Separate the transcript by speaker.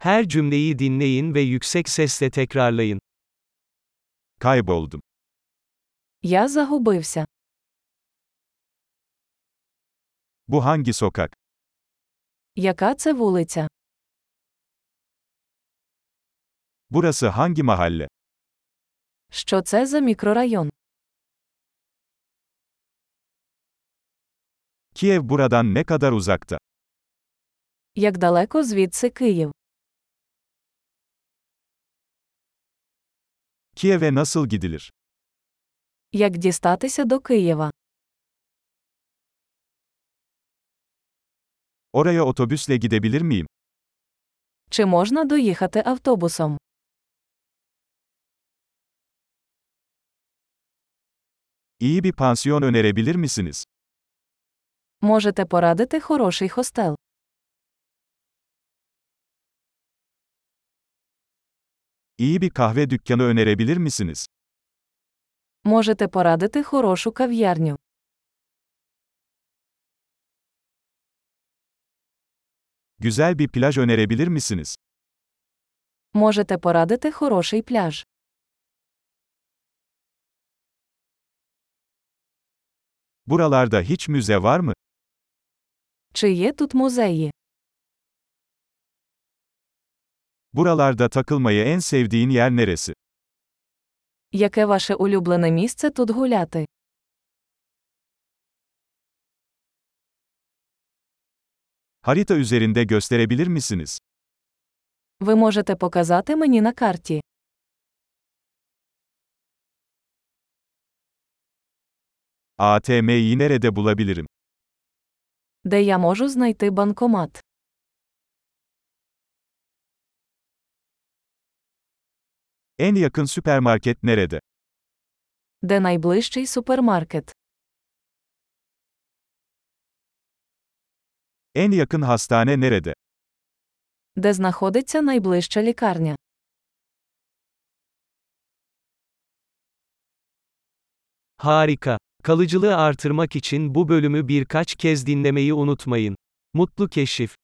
Speaker 1: Her cümleyi dinleyin ve yüksek sesle tekrarlayın.
Speaker 2: Kayboldum.
Speaker 3: Я загубився.
Speaker 2: Bu hangi sokak?
Speaker 3: Яка це вулиця?
Speaker 2: Burası hangi mahalle?
Speaker 3: Що це за мікрорайон?
Speaker 2: Kiev buradan ne kadar uzakta?
Speaker 3: Як далеко звідси Київ?
Speaker 2: Kiev'e nasıl gidilir?
Speaker 3: Як дістатися до Києва?
Speaker 2: Oraya otobüsle gidebilir miyim?
Speaker 3: Чи можна доїхати автобусом?
Speaker 2: İyi bir pansiyon önerebilir misiniz?
Speaker 3: Можете порадити хороший хостел.
Speaker 2: İyi bir kahve dükkanı önerebilir misiniz?
Speaker 3: Можете порадити хорошу кав'ярню.
Speaker 2: Güzel bir plaj önerebilir misiniz?
Speaker 3: Можете порадити хороший пляж.
Speaker 2: Buralarda hiç müze var mı?
Speaker 3: Чи є тут музеї?
Speaker 2: Buralarda takılmayı en sevdiğin yer neresi?
Speaker 3: Яке ваше улюблене місце тут гуляти?
Speaker 2: Harita üzerinde gösterebilir misiniz?
Speaker 3: Ви можете показати мені на карті.
Speaker 2: ATM'yi nerede bulabilirim?
Speaker 3: Де я можу знайти банкомат?
Speaker 2: En yakın süpermarket nerede?
Speaker 3: Де найближчий супермаркет?
Speaker 2: En yakın hastane nerede?
Speaker 3: Де знаходиться найближча лікарня?
Speaker 1: Harika. Kalıcılığı artırmak için bu bölümü birkaç kez dinlemeyi unutmayın. Mutlu keşif.